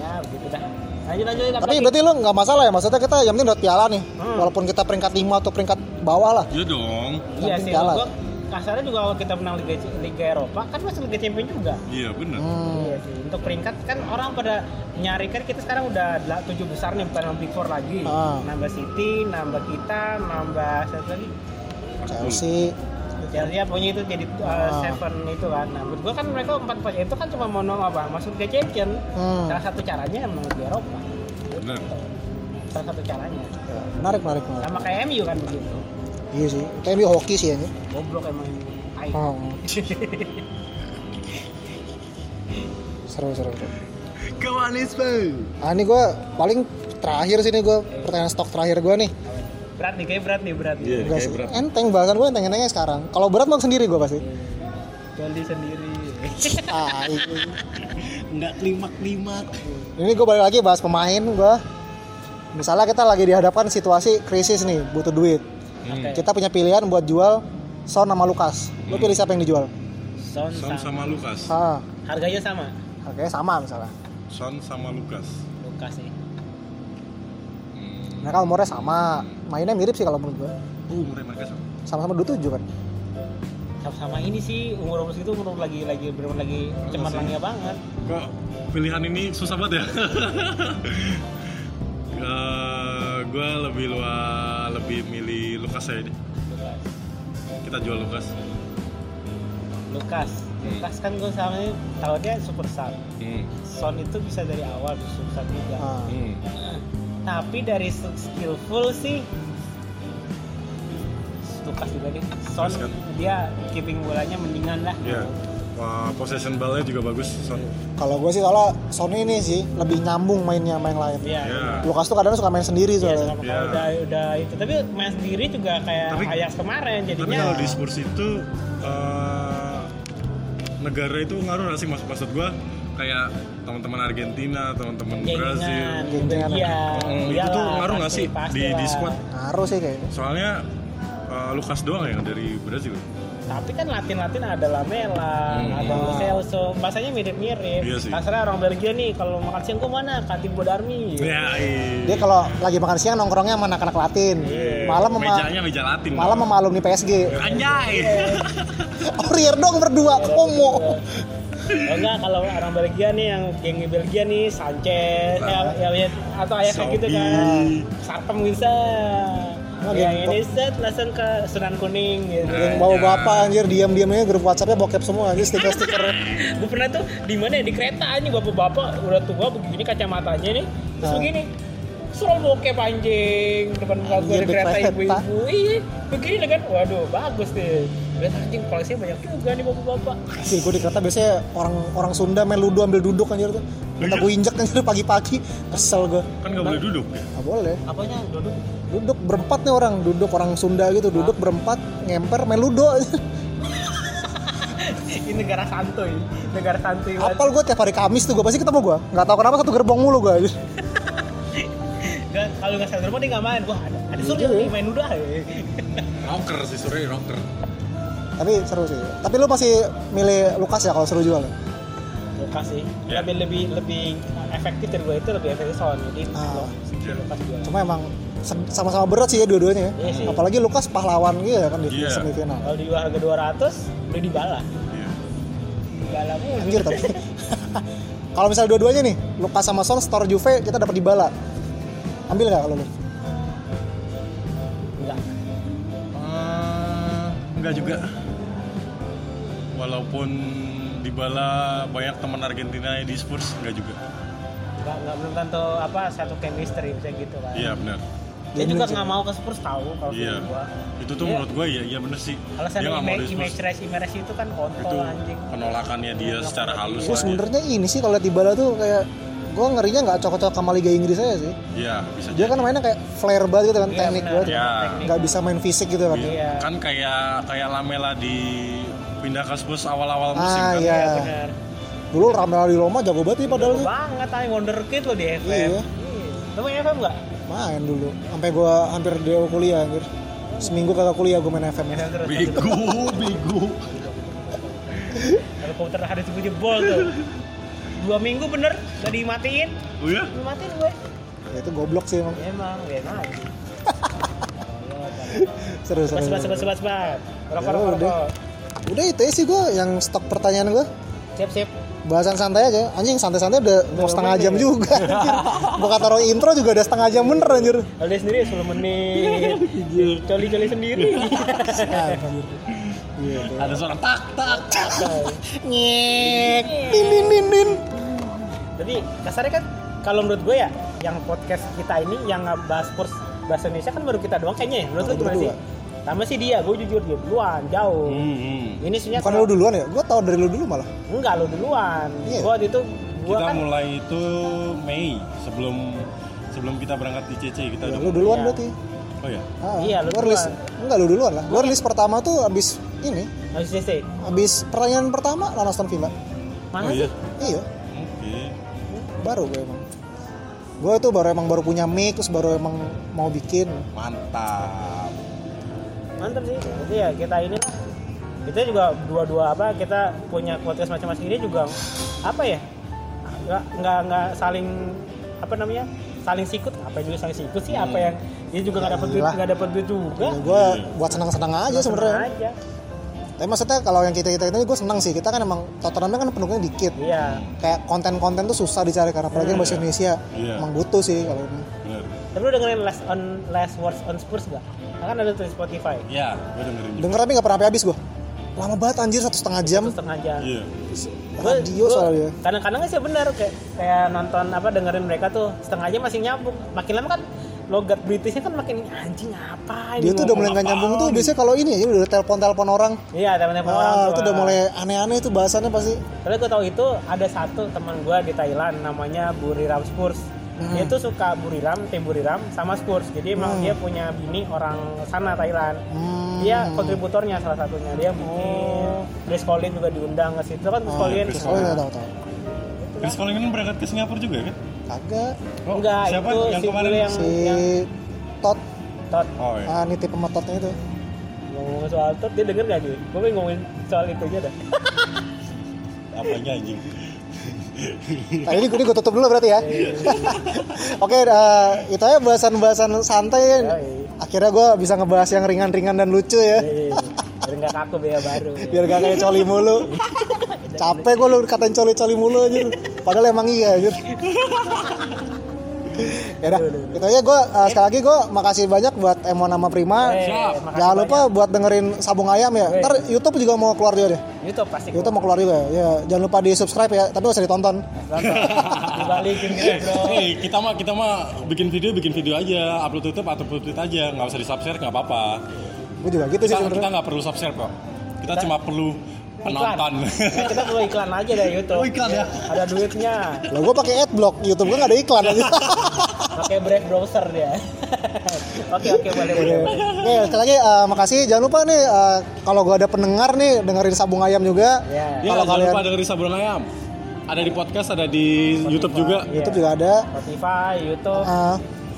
Speaker 1: Ya, begitu dah. Lanjut lanjut kita
Speaker 3: Tapi
Speaker 1: balik.
Speaker 3: berarti lu nggak masalah ya maksudnya kita yang penting dapat piala nih.
Speaker 1: Hmm.
Speaker 3: Walaupun kita peringkat 5 atau peringkat bawah lah.
Speaker 2: Iya dong.
Speaker 1: Iya
Speaker 3: Yang
Speaker 1: sih,
Speaker 3: penting kalah.
Speaker 1: gua kasarnya juga kalau kita menang Liga, Liga Eropa kan masih Liga Champion juga.
Speaker 2: Iya bener.
Speaker 3: Hmm.
Speaker 1: Iya sih. Untuk peringkat kan orang pada nyari kan kita sekarang udah del- tujuh besar nih bukan big four lagi.
Speaker 3: Ah.
Speaker 1: Nambah City, nambah kita, nambah satu lagi.
Speaker 2: Iya.
Speaker 3: Chelsea.
Speaker 1: Chelsea punya itu jadi uh,
Speaker 3: Ah.
Speaker 1: seven itu kan. Nah, menurut gua kan mereka empat poin itu kan cuma mau nong apa masuk ke champion.
Speaker 3: Hmm.
Speaker 1: Salah satu caranya emang di Eropa.
Speaker 2: Bener.
Speaker 1: Salah satu caranya.
Speaker 3: Ya, menarik, menarik, menarik.
Speaker 1: Sama kayak MU kan begitu.
Speaker 3: Iya sih. Kayak dia hoki sih anjir.
Speaker 1: Goblok emang ini. Ai.
Speaker 3: Oh. seru, seru, seru.
Speaker 2: Come on, Ismail.
Speaker 3: Ah ini gue paling terakhir sini gue pertanyaan stok terakhir gue nih.
Speaker 1: Berat nih, kayak berat nih, berat nih.
Speaker 2: Iya,
Speaker 3: Enggak
Speaker 2: kayak
Speaker 3: sih.
Speaker 2: berat.
Speaker 3: Enteng bahasan gue enteng-entengnya sekarang. Kalau berat mah sendiri gue pasti.
Speaker 1: Jolly sendiri.
Speaker 3: Ah, i-
Speaker 2: Nggak klimak-klimak.
Speaker 3: ini gue balik lagi bahas pemain gue. Misalnya kita lagi dihadapkan situasi krisis nih, butuh duit.
Speaker 2: Hmm.
Speaker 1: Oke.
Speaker 3: Kita punya pilihan buat jual Son sama Lukas. Lu pilih siapa yang dijual?
Speaker 1: Son
Speaker 2: Son
Speaker 1: sama.
Speaker 2: sama Lukas.
Speaker 3: Ah,
Speaker 1: Harganya sama.
Speaker 3: harganya sama misalnya.
Speaker 2: Son sama Lukas.
Speaker 1: Lukas nih.
Speaker 2: Hmm.
Speaker 3: Mereka umurnya sama, mainnya mirip sih kalau menurut gue.
Speaker 2: Uh, umurnya mereka sama.
Speaker 3: Sama-sama 27 kan.
Speaker 1: sama-sama ini sih umur umur segitu umur lagi lagi bener lagi
Speaker 2: ya.
Speaker 1: cemerlangnya banget
Speaker 2: Kok pilihan ini susah banget ya? Eh, gue lebih luar lebih milih Lukas aja deh.
Speaker 1: Lukas
Speaker 2: Kita jual Lukas.
Speaker 1: Lukas Lukas kan gue sama ini tahunnya super sub
Speaker 2: Hmm.
Speaker 1: Son itu bisa dari awal bisa super sub juga
Speaker 3: Ah.
Speaker 2: Hmm.
Speaker 1: tapi dari skillful sih Lukas juga deh Son
Speaker 2: Lukas kan?
Speaker 1: dia keeping bolanya mendingan lah
Speaker 2: Ya. Wah, possession ball-nya juga bagus Son.
Speaker 3: Kalau gue sih soalnya Son ini sih lebih nyambung mainnya main lain.
Speaker 1: Iya.
Speaker 2: Ya.
Speaker 3: Lukas tuh kadang suka main sendiri
Speaker 1: Iya,
Speaker 3: soalnya.
Speaker 1: sama
Speaker 2: Iya.
Speaker 1: udah udah itu tapi main sendiri juga kayak
Speaker 2: Tapi-
Speaker 1: Ajax kemarin
Speaker 2: Tapi
Speaker 1: jadinya
Speaker 2: kalau di Spurs itu eh, negara itu ngaruh nggak sih maksud maksud gue kayak teman-teman Argentina, teman-teman Brazil.
Speaker 1: gengan,
Speaker 3: Brazil.
Speaker 1: Iya.
Speaker 2: Hmm, itu tuh ngaruh nggak sih di di squad?
Speaker 3: Ngaruh sih kayaknya.
Speaker 2: Soalnya eh, Lukas doang ya dari Brazil.
Speaker 1: Tapi kan Latin-Latin ada Lamela,
Speaker 2: Hmm.
Speaker 1: ada Lo Celso, bahasanya mirip-mirip.
Speaker 2: Iya sih.
Speaker 1: Kasarnya orang Belgia nih kalau makan siang gua mana? Kantin Bodarmi.
Speaker 2: Ya, iya. Eh,
Speaker 3: Dia kalau lagi makan siang nongkrongnya sama anak-anak Latin.
Speaker 1: Iya,
Speaker 3: Malam sama
Speaker 2: mejanya meja Latin.
Speaker 3: malam
Speaker 2: dong.
Speaker 3: sama alumni PSG.
Speaker 2: Anjay.
Speaker 3: Oh, Rier dong berdua komo.
Speaker 1: Oh enggak kalau orang Belgia nih yang geng Belgia nih Sanchez
Speaker 2: Nah.
Speaker 1: ya, ya, ya, atau ayah kayak gitu
Speaker 2: Sobi.
Speaker 1: kan. Sarpem bisa.
Speaker 2: Iya,
Speaker 3: Oh,
Speaker 1: yang
Speaker 3: gitu.
Speaker 1: ini set langsung ke Sunan Kuning gitu.
Speaker 2: Nah.
Speaker 3: Yang bawa bapak anjir diam-diamnya grup WhatsApp-nya bokep semua anjir stiker-stiker.
Speaker 1: gue pernah tuh di mana ya di kereta ini bapak-bapak udah tua begini kacamatanya nih terus
Speaker 3: Ah.
Speaker 1: begini scroll bokep anjing depan muka gue
Speaker 3: Anjir,
Speaker 1: di
Speaker 3: di
Speaker 1: kereta
Speaker 3: kereta.
Speaker 1: ibu-ibu iya begini deh kan waduh bagus deh lihat anjing koleksinya banyak juga nih bapak-bapak
Speaker 3: Sih gue di kereta biasanya orang orang Sunda main ludo ambil duduk anjir tuh. Minta gue injek anjir pagi-pagi. Kesel gue.
Speaker 2: kan nggak boleh duduk ya.
Speaker 3: Gak boleh.
Speaker 1: apanya duduk
Speaker 3: Duduk berempat nih orang, duduk orang Sunda gitu, duduk berempat, ngemper main ludo.
Speaker 1: ini negara santuy negara santuy banget
Speaker 3: Apal gue tiap hari Kamis tuh gue pasti ketemu gue. Nggak tahu kenapa satu gerbong mulu gue. anjir.
Speaker 1: Nggak- kalau nggak santuy rumah dia nggak main wah ada, ada surya
Speaker 3: Iya.
Speaker 1: nih main udah
Speaker 2: Rocker sih sore rocker.
Speaker 3: Tapi seru sih. Tapi lu masih milih Lukas ya kalau seru jual. ya?
Speaker 1: Lukas sih
Speaker 2: Iya.
Speaker 1: lebih lebih lebih efektif dari gue itu lebih efektif soal jadi
Speaker 3: Ah.
Speaker 1: Lukas jualan
Speaker 3: Cuma emang se- sama-sama berat sih ya dua-duanya. ya.
Speaker 1: Iya sih.
Speaker 3: Apalagi Lukas pahlawan gitu ya kan di
Speaker 2: Iya.
Speaker 3: semifinal.
Speaker 1: kalau di harga 200 udah dibalas
Speaker 2: Iya.
Speaker 1: Dybala mulu.
Speaker 3: Anjir tapi. kalau misalnya dua-duanya nih, Lukas sama Son store Juve kita dapat Dybala. Ambil nggak kalau lu?
Speaker 1: Enggak.
Speaker 2: Eh, nggak juga. Walaupun Dybala banyak teman Argentina di Spurs nggak juga.
Speaker 1: Enggak, enggak belum tentu apa satu chemistry bisa gitu kan.
Speaker 2: Iya benar.
Speaker 1: Dia juga nggak mau ke Spurs tahu kalau
Speaker 2: Iya.
Speaker 1: feeling gua.
Speaker 2: Itu tuh
Speaker 1: Iya.
Speaker 2: menurut gue ya, iya bener sih.
Speaker 1: Alasan
Speaker 2: dia nggak mau
Speaker 1: image,
Speaker 2: di
Speaker 1: image
Speaker 2: Spurs.
Speaker 1: race, image race itu kan
Speaker 2: Itu
Speaker 1: kontol anjing.
Speaker 2: penolakannya dia secara halus.
Speaker 3: Gue
Speaker 2: lah dia.
Speaker 3: sebenarnya ini sih kalau lihat Dybala tuh kayak gue ngerinya nggak cocok-cocok sama Liga Inggris aja sih.
Speaker 2: Iya, bisa
Speaker 3: Dia kan mainnya kayak flare banget gitu kan,
Speaker 1: Iya,
Speaker 3: teknik
Speaker 1: benar.
Speaker 3: banget.
Speaker 2: Iya.
Speaker 1: Teknik.
Speaker 3: Nggak bisa main fisik gitu kan.
Speaker 1: Iya.
Speaker 2: Kan kayak kayak Lamela di pindah ke Spurs awal-awal musim
Speaker 3: Ah
Speaker 2: kan.
Speaker 3: iya.
Speaker 1: Iya, benar.
Speaker 3: Dulu Ramel di Roma jago banget nih padahal
Speaker 1: Jago
Speaker 3: tuh.
Speaker 1: banget anjing wonderkid lo di FM.
Speaker 3: Iya.
Speaker 1: Iya. Lo main FM enggak?
Speaker 3: Main dulu. Sampai gue hampir dia kuliah anjir. Seminggu kagak kuliah gue main Ya, FM.
Speaker 1: FM terus.
Speaker 2: Bego, bego.
Speaker 1: Kalau komputer harus gue jebol tuh. Dua minggu bener gak dimatiin.
Speaker 2: Oh ya?
Speaker 1: Dimatiin gue.
Speaker 3: Ya, itu goblok sih emang.
Speaker 1: Ya, emang, ya emang.
Speaker 3: Seru
Speaker 1: Sebat,
Speaker 3: seru.
Speaker 1: sebat,
Speaker 3: seru.
Speaker 1: sebat, sebat, sebat. Rokok,
Speaker 3: Ya,
Speaker 1: rokok,
Speaker 3: udah.
Speaker 1: rokok.
Speaker 3: Udah itu aja sih gue yang stok pertanyaan gue.
Speaker 1: Siap, siap.
Speaker 3: Bahasan santai aja. Anjing santai-santai udah mau setengah jam juga. anjir. Gua kata taruh intro juga udah setengah jam bener anjir.
Speaker 1: Aldi sendiri 10 menit.
Speaker 2: Iya.
Speaker 1: Coli-coli sendiri.
Speaker 3: Sial, anjir. Iya. tuh.
Speaker 2: Ada suara tak tak. tak.
Speaker 3: Nyek. Din din din din.
Speaker 1: Jadi kasarnya kan kalau menurut gue ya yang podcast kita ini yang bahas Spurs bahasa Indonesia kan baru kita doang kayaknya ya. Menurut lo
Speaker 3: Baru
Speaker 1: gimana
Speaker 3: berdua.
Speaker 1: sih? Tambah sih dia, gue jujur dia duluan, jauh.
Speaker 2: Hmm, hmm.
Speaker 1: Ini sebenarnya
Speaker 3: Bukan
Speaker 1: kalau-
Speaker 3: lu duluan ya? Gua tahu dari lu dulu malah.
Speaker 1: enggak lo duluan.
Speaker 3: Iya.
Speaker 1: Gue itu gue
Speaker 2: Kita
Speaker 1: kan
Speaker 2: mulai itu Mei sebelum sebelum kita berangkat di CC kita udah.
Speaker 3: Ya, lu duluan
Speaker 1: Iya.
Speaker 3: berarti.
Speaker 2: Oh ya.
Speaker 3: Ah,
Speaker 1: Iya, lu
Speaker 3: gua rilis
Speaker 1: duluan.
Speaker 3: enggak lu duluan lah. Gua rilis pertama tuh abis ini,
Speaker 1: harus CC.
Speaker 3: abis pertanyaan pertama lawan Aston Villa.
Speaker 1: Mana
Speaker 2: Oh
Speaker 1: sih?
Speaker 2: iya.
Speaker 3: Iya,
Speaker 2: Oke.
Speaker 3: baru gue emang. Gue itu baru emang baru punya mic terus baru emang mau bikin.
Speaker 2: Mantap.
Speaker 1: Mantap sih. Jadi ya kita ini lah. Kita juga dua-dua apa kita punya podcast macam-macam ini juga apa ya? Enggak enggak enggak saling apa namanya? saling sikut apa yang juga saling sikut sih apa yang dia juga nggak dapet duit
Speaker 3: Iyalah.
Speaker 1: nggak dapet duit juga
Speaker 3: gue Ya buat senang-senang aja
Speaker 1: Sama
Speaker 3: sebenarnya.
Speaker 1: Iya. aja.
Speaker 3: Tapi maksudnya kalau yang kita kita ini gue senang sih. Kita kan emang Tottenhamnya kan pendukungnya dikit.
Speaker 1: Iya.
Speaker 3: Kayak konten-konten tuh susah dicari karena apalagi bahasa Indonesia
Speaker 2: Iya.
Speaker 3: emang butuh sih kalau ini.
Speaker 2: Bener.
Speaker 1: Tapi lu dengerin last on last words on Spurs gak? Kan ada tuh di Spotify.
Speaker 2: Ya, gue dengerin juga.
Speaker 3: Denger tapi nggak pernah habis gue. Lama banget anjir satu setengah jam.
Speaker 1: Satu setengah jam.
Speaker 2: Iya.
Speaker 1: Gua-
Speaker 3: Radio
Speaker 1: gua
Speaker 3: soalnya.
Speaker 1: Kadang-kadang sih benar kayak, kayak nonton apa dengerin mereka tuh setengah jam masih nyambung. Makin lama kan logat Britishnya kan makin anjing apa ini.
Speaker 3: Dia tuh udah mulai
Speaker 1: ngomong
Speaker 3: nggak
Speaker 1: apa?"
Speaker 3: nyambung tuh biasanya kalau ini ya udah telepon-telepon orang.
Speaker 1: Iya, teman-teman orang
Speaker 3: Ah,
Speaker 1: tua.
Speaker 3: itu udah mulai aneh-aneh tuh bahasannya pasti.
Speaker 1: Soalnya gue tau itu ada satu teman gue di Thailand namanya Buriram Spurs.
Speaker 3: Hmm.
Speaker 1: Dia tuh suka Buriram, tim Buriram sama Spurs. Jadi emang
Speaker 3: Hmm.
Speaker 1: dia punya bini orang sana Thailand.
Speaker 3: Hmm.
Speaker 1: Dia kontributornya salah satunya. Dia bikin Chris Collin juga diundang ke situ kan Chris
Speaker 2: Oh,
Speaker 1: Collin.
Speaker 2: Chris
Speaker 3: Oh iya tahu tahu.
Speaker 2: Chris Collins kan berangkat ke Singapura juga kan?
Speaker 3: Kagak
Speaker 1: Enggak,
Speaker 2: siapa
Speaker 1: itu
Speaker 2: yang
Speaker 1: si
Speaker 2: kemarin?
Speaker 1: dulu yang- Eh.
Speaker 3: si Tot
Speaker 1: Tot
Speaker 2: Oh iya.
Speaker 3: ah, nitip sama Totnya itu.
Speaker 1: ngomong soal Tot dia denger gak sih? Gue pengen ngomongin soal itu aja dah.
Speaker 2: Apanya anjing?
Speaker 3: Nah, ini, ini gue tutup dulu berarti
Speaker 1: Iya,
Speaker 3: ya. Oke, eh, itu aja bahasan-bahasan
Speaker 1: Ya, Kan.
Speaker 3: santai.
Speaker 1: Yoi.
Speaker 3: Akhirnya gue bisa ngebahas yang ringan-ringan dan lucu ya.
Speaker 1: Eh, Biar nggak kaku biaya baru.
Speaker 3: Biar gak kayak coli mulu. Capek gue lu katain coli-coli mulu aja. Padahal emang iya aja. Yaudah,
Speaker 1: Iya,
Speaker 3: itu aja gue sekali lagi gue makasih banyak buat Emo Nama Prima.
Speaker 1: Eh,
Speaker 2: Siap.
Speaker 1: makasih
Speaker 3: Jangan lupa buat dengerin Sabung Ayam ya.
Speaker 1: Weh.
Speaker 3: Ntar YouTube juga mau keluar juga deh.
Speaker 1: banyak. YouTube pasti.
Speaker 3: YouTube mau keluar juga ya. ya. Jangan lupa di subscribe ya. Tapi gak usah ditonton.
Speaker 1: Dibalikin gitu bro.
Speaker 2: Hey, kita mah kita mah bikin video bikin video aja, upload YouTube atau upload YouTube aja, nggak usah di subscribe nggak apa-apa.
Speaker 3: Gue juga gitu sih
Speaker 2: Kita kita
Speaker 3: sebenarnya.
Speaker 2: nggak perlu subscribe kok. Kita, cuma perlu
Speaker 1: Iklan.
Speaker 2: penonton. Iya,
Speaker 1: Nah, kita perlu iklan aja dari YouTube.
Speaker 2: Oh, iklan ya?
Speaker 1: Ada duitnya.
Speaker 3: Lah gue pakai adblock. YouTube gue gak ada iklan.
Speaker 1: Pakai brave browser dia. Oke oke boleh boleh. boleh.
Speaker 3: Oke, sekali lagi eh, makasih. Jangan lupa nih eh, kalau gua ada pendengar nih dengerin Sabung Ayam juga.
Speaker 1: Ya.
Speaker 2: Ya,
Speaker 3: Kalau
Speaker 2: jangan
Speaker 3: kalian-
Speaker 2: lupa dengerin Saburan Ayam. Ada di podcast, ada di YouTube juga.
Speaker 1: Iya.
Speaker 3: YouTube juga ada.
Speaker 1: Spotify, YouTube,
Speaker 3: Eh,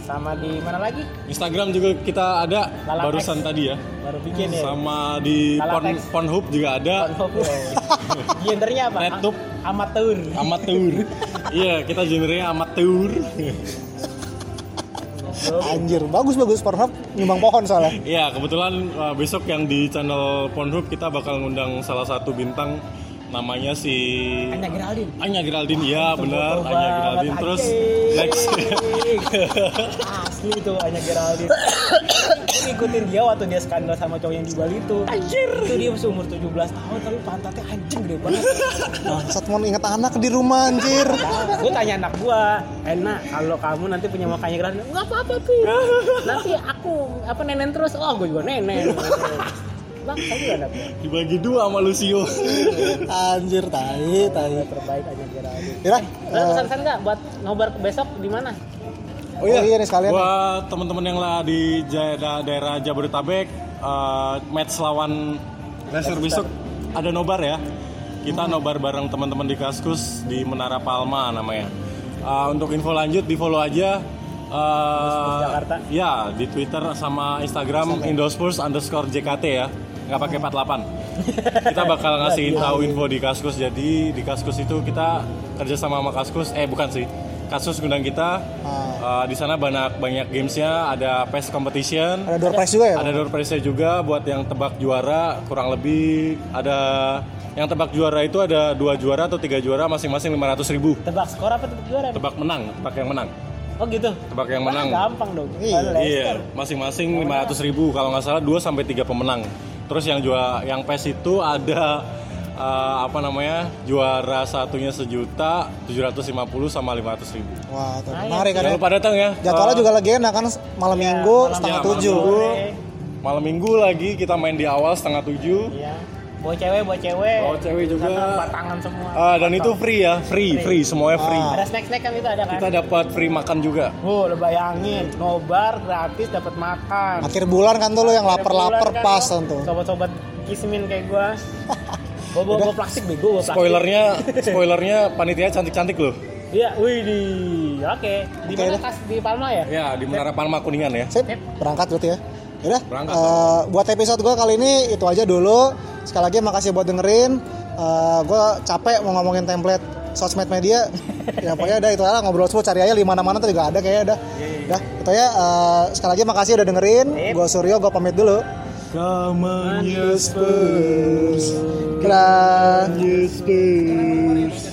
Speaker 1: sama di mana lagi?
Speaker 2: Instagram juga kita ada
Speaker 1: Lalatex.
Speaker 2: barusan tadi ya.
Speaker 1: Baru bikin ya.
Speaker 2: Sama di Porn,
Speaker 1: Lalatex.
Speaker 2: Pornhub juga ada.
Speaker 1: Pornhub, ya. Gendernya apa?
Speaker 2: Nettup.
Speaker 1: Amatur.
Speaker 2: Amatur. Iya, kita genrenya amatur.
Speaker 1: Nettup.
Speaker 3: anjir, bagus bagus Pornhub nyumbang pohon soalnya.
Speaker 2: Iya, kebetulan uh, besok yang di channel Pornhub kita bakal ngundang salah satu bintang namanya si
Speaker 1: Hanya Geraldine.
Speaker 2: Anya Geraldine ya benar Anya Geraldine terus next
Speaker 1: Asli itu Anya Geraldine. Aku ngikutin dia waktu dia skandal sama cowok yang di Bali itu. Anjir. Itu dia masih umur 17 tahun tapi pantatnya anjing gede banget.
Speaker 3: Bangsat mau inget anak di rumah anjir.
Speaker 1: gue tanya anak gua, enak kalau kamu nanti punya makanya Geraldine. Enggak apa-apa, Pi. Nanti aku apa nenen terus. Oh, gue juga nenen. Bang, kamu gak ada
Speaker 2: dibagi dua sama Lucio
Speaker 3: Anjir tai tai.
Speaker 1: terbaik Anya Geraldine.
Speaker 3: Yaudah,
Speaker 1: Lo
Speaker 3: eh,
Speaker 1: pesan-pesan nggak buat nobar besok di mana?
Speaker 3: oh iya, nih sekalian.
Speaker 2: buat teman-teman yang lah di ja- da- daerah Jabodetabek eh, match lawan Leicester besok ada nobar ya kita nobar bareng teman-teman di Kaskus di Menara Palma namanya Eh, untuk info lanjut di follow aja eh,
Speaker 1: Jakarta.
Speaker 2: ya di Twitter sama Instagram Indospurs underscore JKT ya nggak pakai 48 kita bakal ngasih tahu info di Kaskus jadi di Kaskus itu kita kerjasama sama Kaskus eh bukan sih Kaskus gundang kita
Speaker 3: Ah,
Speaker 2: Uh, di sana banyak banyak gamesnya, ada PES competition,
Speaker 3: ada door prize juga ya?
Speaker 2: ada door prize juga buat yang tebak juara kurang lebih ada yang tebak juara itu ada dua juara atau tiga juara masing-masing 500.000 ribu
Speaker 1: Tebak skor apa tebak juara?
Speaker 2: tebak menang, tebak yang menang,
Speaker 1: Oh gitu.
Speaker 2: tebak yang
Speaker 1: Wah,
Speaker 2: menang.
Speaker 1: gampang dong.
Speaker 3: Iya.
Speaker 1: Kalau Leicester.
Speaker 2: Iya, masing-masing 500.000 ribu kalau nggak salah 2 sampai 3 pemenang. Terus yang juara yang PES itu ada uh, apa namanya juara satunya sejuta 750 sama 500.000 ribu.
Speaker 3: Wah, tuh,
Speaker 1: Nah,
Speaker 3: menarik kan ya.
Speaker 2: Jangan lupa datang ya.
Speaker 3: Jadwalnya
Speaker 2: Uh,
Speaker 3: juga lagi enak kan malam
Speaker 1: Iya,
Speaker 3: minggu
Speaker 1: malam
Speaker 3: setengah
Speaker 2: minggu.
Speaker 3: tujuh.
Speaker 1: Sore.
Speaker 2: Malam minggu lagi kita main di awal setengah tujuh.
Speaker 1: Iya. Bawa cewek, bawa cewek.
Speaker 2: Bawa cewek juga.
Speaker 1: Sana empat tangan semua.
Speaker 3: Eh,
Speaker 2: Ah, dan itu free ya, free, free, semuanya free.
Speaker 3: Ah.
Speaker 1: Ada snack-snack kan itu ada kan?
Speaker 2: Kita dapat free makan juga.
Speaker 1: Oh, lo bayangin, nobar gratis dapat makan.
Speaker 3: Akhir bulan kan tuh lu yang
Speaker 1: Ada
Speaker 3: lapar-lapar
Speaker 1: bulan kan
Speaker 3: pas
Speaker 1: lo,
Speaker 3: tuh.
Speaker 1: Sobat-sobat kismin kayak gua. Bawa bawa bawa plastik bego, bawa plastik.
Speaker 2: Spoilernya, spoilernya panitia cantik-cantik loh.
Speaker 1: Iya, wih di. Oke. Di
Speaker 3: Oke,
Speaker 1: mana
Speaker 3: dah.
Speaker 1: kas di Palma ya?
Speaker 2: Ya, di Menara Palma Kuningan ya.
Speaker 3: Sip, berangkat berarti ya. Yaudah,
Speaker 2: Berangkat.
Speaker 3: eh, buat episode gue kali ini itu aja dulu. Sekali lagi makasih buat dengerin. gue capek mau ngomongin template sosmed media. ya pokoknya udah itu aja lah, ngobrol semua cari aja di mana-mana tuh juga ada kayaknya udah. Dah, itu ya. eh, sekali lagi makasih udah dengerin.
Speaker 1: Iya, Sip.
Speaker 3: Gue Suryo, gue pamit dulu.
Speaker 2: Kamen Yespers,
Speaker 3: Dadah.
Speaker 2: Yespers.